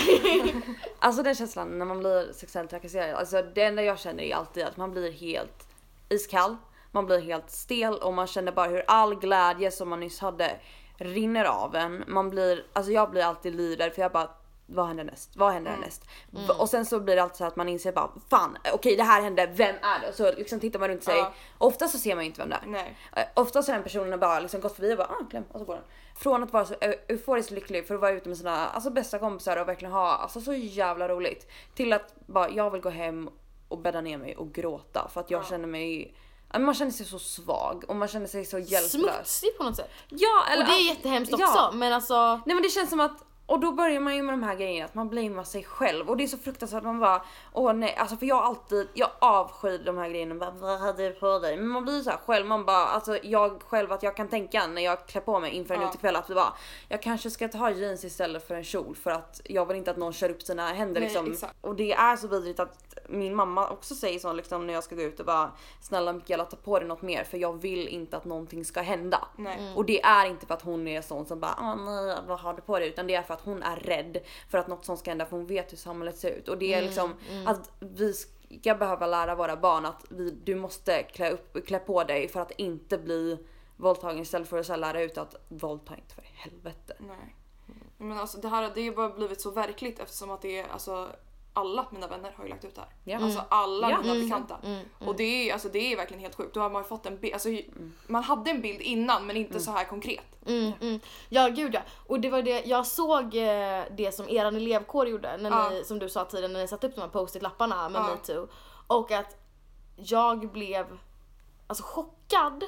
Alltså den känslan när man blir sexuellt trakasserad. Alltså det enda jag känner är alltid att man blir helt iskall. Man blir helt stel och man känner bara hur all glädje som man nyss hade rinner av en. Man blir, alltså jag blir alltid livrädd för jag bara vad händer näst? Vad händer härnäst? V- Och sen så blir det alltid så att man inser bara fan okej det här hände, vem är det? Och så liksom tittar man runt sig.
Ja.
Ofta så ser man ju inte vem det är.
Nej.
Eh, Oftast har den personen bara liksom gått förbi och bara ah, kläm och så går den. Från att vara så eu- euforiskt lycklig för att vara ute med sina alltså, bästa kompisar och verkligen ha alltså, så jävla roligt. Till att bara jag vill gå hem och bädda ner mig och gråta för att jag känner mig ja, men man känner sig så svag och man känner sig så hjälplös.
Smutsig på något sätt.
Ja, eller
Och det är
att-
jättehemskt
ja.
också men alltså
Nej men det känns som att och då börjar man ju med de här grejerna att man blamear sig själv och det är så fruktansvärt man bara åh nej alltså för jag har alltid jag avskyr de här grejerna bara, vad hade du på dig? Men man blir så här själv man bara alltså jag själv att jag kan tänka när jag klär på mig inför en
Ja.
utekväll att vi bara jag kanske ska ta jeans istället för en kjol för att jag vill inte att någon kör upp sina händer
Nej,
liksom.
exakt.
Och det är så vidrigt att min mamma också säger så liksom när jag ska gå ut och bara snälla Mikaela ta på dig något mer för jag vill inte att någonting ska hända.
Nej.
Och det är inte för att hon är sån som bara ah, nej vad har du på dig utan det är för att hon är rädd för att något sånt ska hända för hon vet hur samhället ser ut. Och det är liksom att vi ska behöva lära våra barn att vi, du måste klä, upp, klä på dig för att inte bli våldtagen istället för att så här lära ut att våldta inte för helvete.
Nej. Men alltså det här det har ju bara blivit så verkligt eftersom att det är alltså alla mina vänner har ju lagt ut det här.
Ja. Mm.
Alltså alla
Ja. Mm.
mina bekanta. Och det är, alltså, det är verkligen helt sjukt. Då har man ju fått en bild. Alltså, Man hade en bild innan men inte så här konkret.
Mm, mm. Ja gud ja. Och det var det, jag såg eh, det som eran elevkår gjorde, när
Ja.
ni, som du sa tidigare, när ni satte upp de här post-it-lapparna med
Ja.
metoo. Och att jag blev alltså chockad.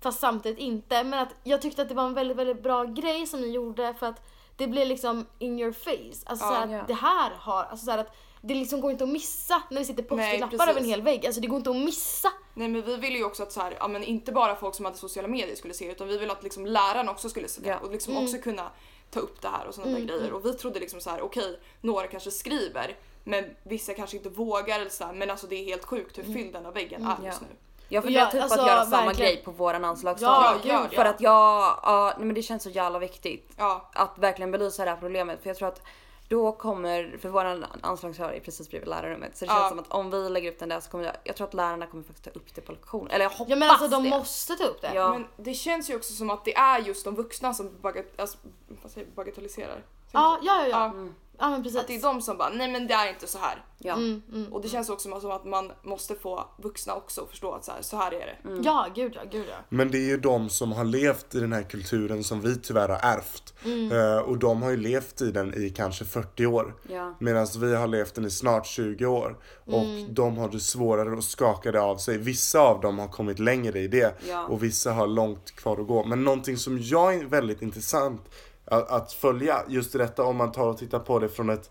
Fast samtidigt inte. Men att jag tyckte att det var en väldigt, väldigt bra grej som ni gjorde för att det blev liksom in your face. Alltså
Ja.
så att
Ja.
det här har, alltså så att det liksom går inte att missa när vi sitter post-it-lappar
precis.
över en hel vägg. Alltså det går inte att missa.
Nej men vi ville ju också att så här, ja, men inte bara folk som hade sociala medier skulle se utan vi ville att liksom läraren också skulle se det
Ja. Mm.
och liksom också kunna ta upp det här och sådana där grejer. Och vi trodde liksom så här: okej några kanske skriver men vissa kanske inte vågar eller så här, men alltså det är helt sjukt hur fylld den här väggen är just
Mm. Ja.
nu.
Jag
Och
funderar
jag-
typ
alltså,
att göra samma
verkligen.
grej på våran anslagstavla.
Ja, gör det.
för att jag, ja, nej men det känns så jävla viktigt.
Ja,
att verkligen belysa det här problemet för jag tror att då kommer, för våran anslagshör är precis bredvid lärarrummet så det känns
Ja.
som att om vi lägger upp den där så kommer jag, jag tror att lärarna kommer faktiskt ta upp det på lektionen. Eller jag hoppas
Ja men alltså de
det.
måste ta upp det.
Ja.
Men det känns ju också som att det är just de vuxna som bagat, alltså, vad säger, jag, bagatelliserar.
Ja, ja, ja, ja.
Ja,
Ja, men precis.
Att det är de som bara nej men det är inte så här.
Ja.
Mm, mm.
Och det känns också som- som att man måste få vuxna också att förstå att så här, så här är det.
Mm.
Mm.
Ja, gud ja, gud ja.
Men det är ju de som har levt i den här kulturen som vi tyvärr har ärvt. Eh, och de har ju levt i den i kanske 40 år.
Ja.
Medan vi har levt den i snart 20 år. Och de har det svårare och skakade av sig. Vissa av dem har kommit längre i det.
Ja.
Och vissa har långt kvar att gå. Men någonting som jag är väldigt intressant att, att följa just detta om man tar och tittar på det från ett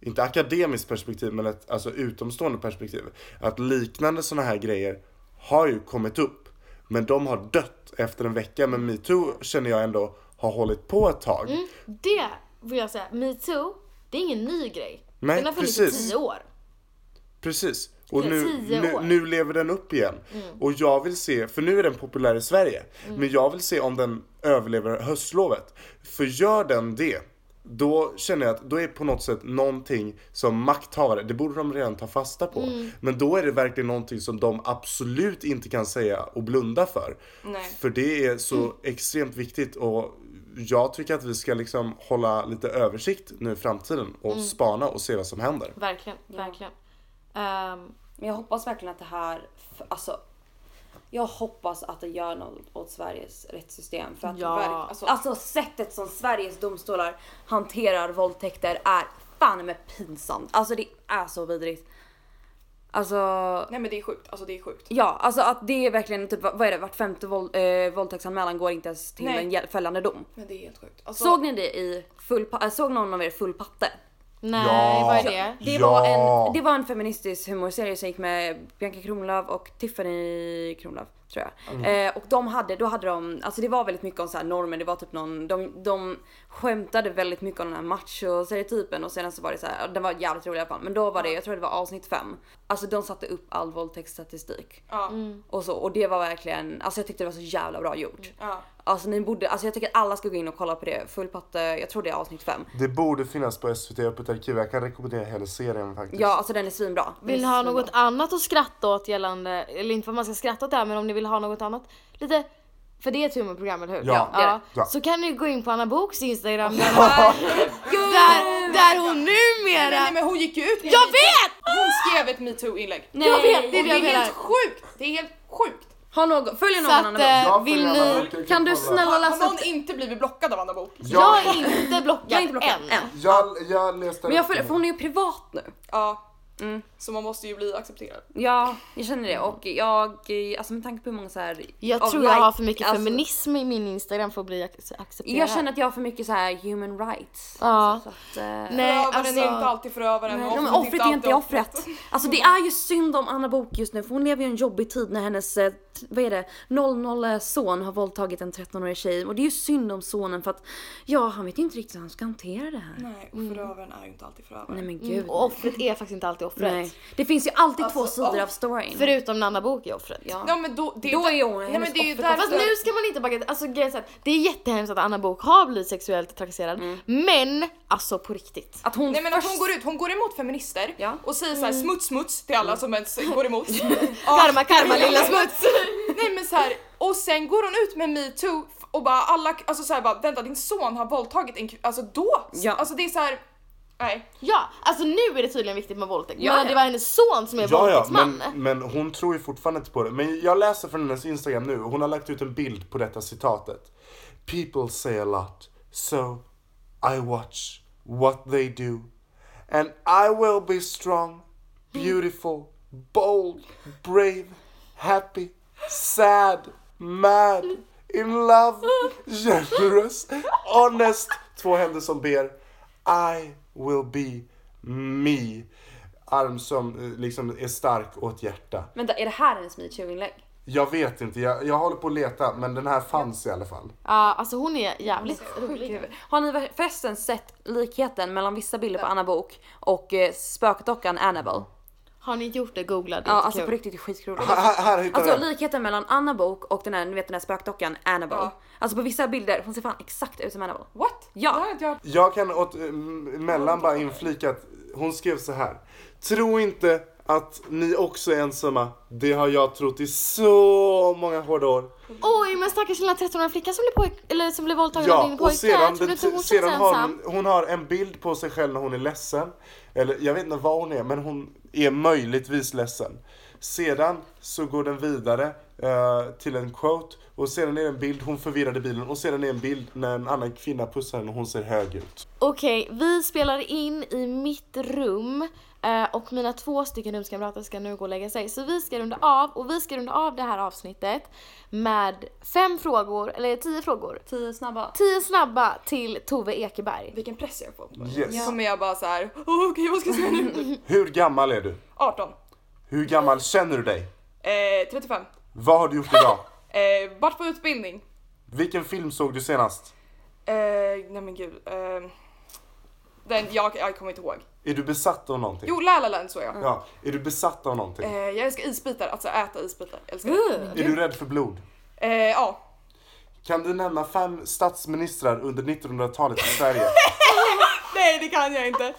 inte akademiskt perspektiv men ett alltså utomstående perspektiv. Att liknande sådana här grejer har ju kommit upp. Men de har dött efter en vecka. Men metoo känner jag ändå har hållit på ett tag.
Det vill jag säga, metoo, det är ingen ny grej.
Nej,
den har funnits i
precis.
tio år.
Precis. Och nu,
tio
nu,
år. Mm.
nu lever den upp igen. Och jag vill se, för nu är den populär i Sverige, men jag vill se om den överlever höstlovet. För gör den det, då känner jag att då är på något sätt någonting som makthavare, det borde de redan ta fasta på.
Mm.
Men då är det verkligen någonting som de absolut inte kan säga och blunda för.
Nej.
För det är
Mm.
så extremt viktigt och jag tycker att vi ska liksom hålla lite översikt nu i framtiden och
Mm.
spana och se vad som händer.
Verkligen, verkligen. Ehm,
Men jag hoppas verkligen att det här, f- alltså jag hoppas att det gör något åt Sveriges rättssystem för att
Ja.
verk, alltså, alltså sättet som Sveriges domstolar hanterar våldtäkter är fan med pinsamt. Alltså det är så vidrigt. Alltså
Nej men det är sjukt, alltså det är sjukt.
Ja, alltså att det är verkligen typ, vad är det, vart femte våld, eh, våldtäktsanmälan går inte ens till
Nej.
en hjäl- fällande dom.
Men det är helt sjukt. Alltså,
Såg ni det i full, pa- äh, såg någon av er full patte?
nej,
Ja.
vad är det?
Det,
Ja.
var en, det var en feministisk humorserie som gick med Bianca Kronlöf och Tiffany Kronlöf. tror jag. Eh, och de hade, då hade de, alltså det var väldigt mycket om så här normer, det var typ någon, de, de skämtade väldigt mycket om den här machostereotypen och sen så var det så här, den var jävligt rolig i alla fall, men då var det, jag tror det var avsnitt 5. Alltså de satte upp all våldtäktsstatistik
Ja.
och så och det var verkligen, alltså jag tyckte det var så jävla bra gjort.
Ja.
Alltså ni borde, alltså jag tycker att alla ska gå in och kolla på det, full patte, jag tror det är avsnitt 5.
Det borde finnas på SVT Öppet arkiv. Jag kan rekommendera hela serien faktiskt.
Ja alltså den är svinbra.
Vill ni ha något annat att skratta åt gällande, eller inte för att man ska skratta åt det här men om ni vill ha något annat lite för det är ett humorprogram eller hur?
Ja, det är det. Ja.
Så kan ni gå in på Anna Boks instagram där, där, där hon numera...
Nej men hon gick ju ut med
Jag
en-
vet!
Hon skrev ett metoo-inlägg.
Nej.
Jag vet! Det är det
Det
jag
är
menar.
helt sjukt! Det är helt sjukt!
Ha någon, följ någon
Så att,
annan då.
eh,
Jag
vill
får gärna-
ni...
jag
Kan du
kolla.
snälla
Har,
läsa
har
upp
någon inte blivit blockad av Anna Bok?
Jag är
Jag,
inte blockad,
Jag är inte blockad än.
jag, jag läste
Men jag följer, för hon är ju privat nu.
Ja.
Mm.
Så man måste ju bli accepterad.
Ja, jag känner det och jag, alltså med tanke på hur många så här.
Jag
av
tror jag har
like-
för mycket
alltså,
feminism i min instagram för att bli ac- accepterad.
Jag känner att jag har för mycket så här human rights.
Ja.
Alltså, så att, eh,
Nej,
förövaren är
alltså-
inte alltid förövaren.
Nej,
och
men
offret
offret är inte
alltid
offret. Alltså det är ju synd om Anna Bok just nu för hon lever ju en jobbig tid när hennes, eh, t- vad är det, 00 son har våldtagit en 13-årig tjej och det är ju synd om sonen för att ja han vet ju inte riktigt hur han ska hantera det här.
Nej, och förövaren är ju inte alltid förövaren.
Mm. Nej men gud.
Mm, och offret är faktiskt inte alltid offret.
Nej. Det finns ju alltid två
Alltså,
sidor
oh.
av storyn.
Förutom när Anna Book är offret.
Ja.
Ja men då, det
Då
där-
är hon
Nej,
hennes
men det är ju
offer.
därför-
Fast nu ska man inte bagatellisera, alltså grejen är så här, det är jättehemskt att Anna Book har blivit sexuellt trakasserad. Men alltså på riktigt.
Att hon
Nej men att hon
först-
går ut, hon går emot feminister
Ja. Mm.
och säger så här smuts smuts till alla som ens går emot. Ja.
Karma karma lilla smuts!
Nej men så här, och sen går hon ut med metoo f- och bara alla, alltså så här, bara vänta din son har våldtagit en kvinna, alltså då,
Ja.
alltså det är så här, nej.
Ja, alltså nu är det tydligen viktigt med våldtäkt.
Ja,
men
ja.
det var hennes son som är
Ja, ja,
våldtäktsman.
men, men hon tror ju fortfarande inte på det. Men jag läser från hennes Instagram nu. Hon har lagt ut en bild på detta citatet. People say a lot, so I watch what they do. And I will be strong, beautiful, bold, brave, happy, sad, mad, in love, generous, honest. Två händer som ber. I will be me. Arm som eh, liksom är stark och ett hjärta.
Vänta, är det här hennes metoo-inlägg?
Jag vet inte, jag, jag håller på att leta men den här fanns i alla fall.
Ja, alltså hon är jävligt
Sjuk i
rolig.
huvudet. Har ni förresten sett likheten mellan vissa bilder på Anna Bok och eh, spökdockan Annabelle?
Har ni inte gjort det, googla det.
Ja,
är
alltså på
jättekul.
riktigt det är skitkul.
Här, här- här hittar
Alltså
jag.
likheten mellan Anna Bok och den här, ni vet den här spökdockan Annabelle.
Ja.
Alltså på vissa bilder, hon ser fan exakt ut som Annabelle.
What?
Ja.
Det har inte jag hört.
Jag kan åt, eh, m- mellan bara inflika att hon skrev så här. Tro inte att ni också är ensamma. Det har jag trott i så många hårda år.
Oj men stackars lilla 13-åriga flicka som blev, pojk- eller som blev våldtagen av
Ja,
din
och
pojke.
sedan,
Tror du
den,
inte hon
sedan
känns
har
ensam?
hon, hon har en bild på sig själv när hon är ledsen. Eller jag vet inte vad hon är, men hon är möjligtvis ledsen. Sedan så går den vidare eh, till en quote och sedan är det en bild, hon förvirrade bilen och sedan är det en bild när en annan kvinna pussar henne och hon ser hög ut.
Okej, vi spelar in i mitt rum eh, och mina två stycken rumskamrater ska nu gå och lägga sig. Så vi ska runda av och vi ska runda av det här avsnittet med fem frågor, eller tio frågor.
Tio snabba.
Tio snabba till Tove Ekeberg.
Vilken press jag får på mig.
Yes.
Så kommer jag bara så här, "Åh, okej vad ska jag säga nu?
Hur gammal är du?
18.
Hur gammal känner du dig?
Eh, 35.
Vad har du gjort idag?
Eh, vart på utbildning?
Vilken film såg du senast?
Eh, nej men gud. Eh, den, jag, jag kommer inte ihåg.
Är du besatt av någonting?
Jo, La La Land såg jag.
Ja. Är du besatt av någonting?
Eh, jag älskar isbitar, alltså äta isbitar. Älskar det.
Är du rädd för blod?
Eh, ja.
Kan du nämna fem statsministrar under 1900-talet i Sverige?
Nej, det kan jag inte.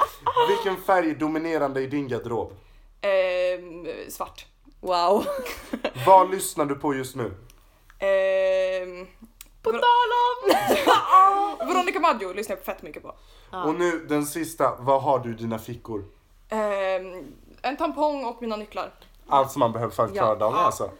Vilken färg är dominerande i din garderob?
Eh, svart.
Wow.
Vad lyssnar du på just nu?
Eh, på tal Ah! om! Veronica Maggio lyssnar jag fett mycket på.
Och nu den sista, vad har du i dina fickor?
Eh, en tampong och mina nycklar.
Allt som man behöver för att klara dagen alltså.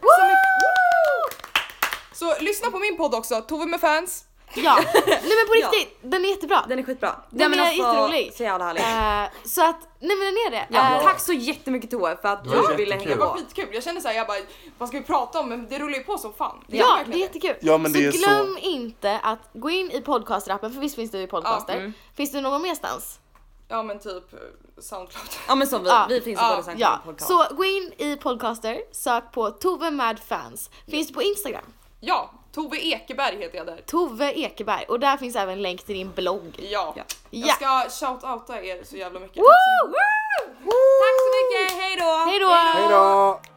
Så lyssna på min podd också, Tove med fans.
Ja, nej men på riktigt, den är jättebra.
Den är skitbra. Den
Den är jätterolig.
Så jävla härlig.
Eh, så att, nej men den är det.
Ja.
Eh,
Tack så jättemycket Tove för att
Det var
du ville hänga
jättekul.
Det var
på.
skitkul. Jag kände såhär, jag bara, vad ska vi prata om? Men det rullar ju på som fan. Det är
Ja, det
verkligen
är jättekul.
Ja, men
så
det är så-
glöm inte att gå in i podcastrappen, för visst finns det ju podcaster.
Ja,
Finns det någon mer stans?
det. Ja men typ eh, Soundcloud.
Ja men som vi,
Ja.
vi finns
Ja.
på både
Ja,
ja. podcast.
så gå in i podcaster, sök på Tove Mad Fans. Finns på Instagram,
Ja, Tove Ekeberg heter jag där.
Tove Ekeberg och där finns även länk till din blogg.
Ja.
Ja.
Ja.
Jag ska shout-outa er så jävla mycket.
Woo!
Tack så mycket, hejdå!
Hej då!
Hej då!